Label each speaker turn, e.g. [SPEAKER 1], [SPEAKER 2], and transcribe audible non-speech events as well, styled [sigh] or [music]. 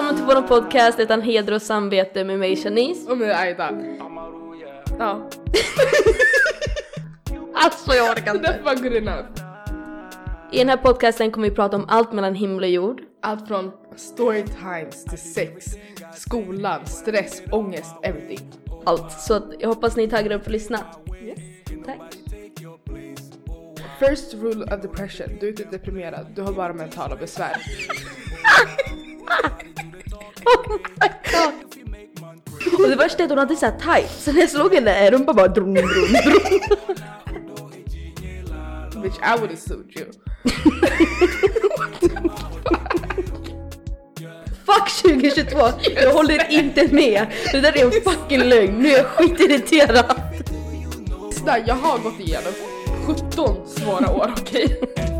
[SPEAKER 1] vår podcast utan heder och samvete med mig Shanice.
[SPEAKER 2] Och med Aida.
[SPEAKER 1] Ja. [laughs] alltså jag orkar inte.
[SPEAKER 2] That's not good enough.
[SPEAKER 1] I den här podcasten kommer vi prata om allt mellan himmel och jord.
[SPEAKER 2] Allt från storytimes till sex, skolan, stress, ångest, everything.
[SPEAKER 1] Allt. Så att jag hoppas ni är taggade upp för att lyssna. Tack. [laughs]
[SPEAKER 2] First rule of depression. Du är inte deprimerad, du har bara mentala besvär.
[SPEAKER 1] Oh my god. Och det värsta är att hon hade såhär tights, så när jag slog henne eh, rumpan bara drum, drum, drum.
[SPEAKER 2] Which I would have sued you.
[SPEAKER 1] Fuck 2022! Jag håller inte med! Det där är en fucking lögn, nu är jag skitirriterad!
[SPEAKER 2] Lyssna, jag har gått igenom 17 svåra år, okej?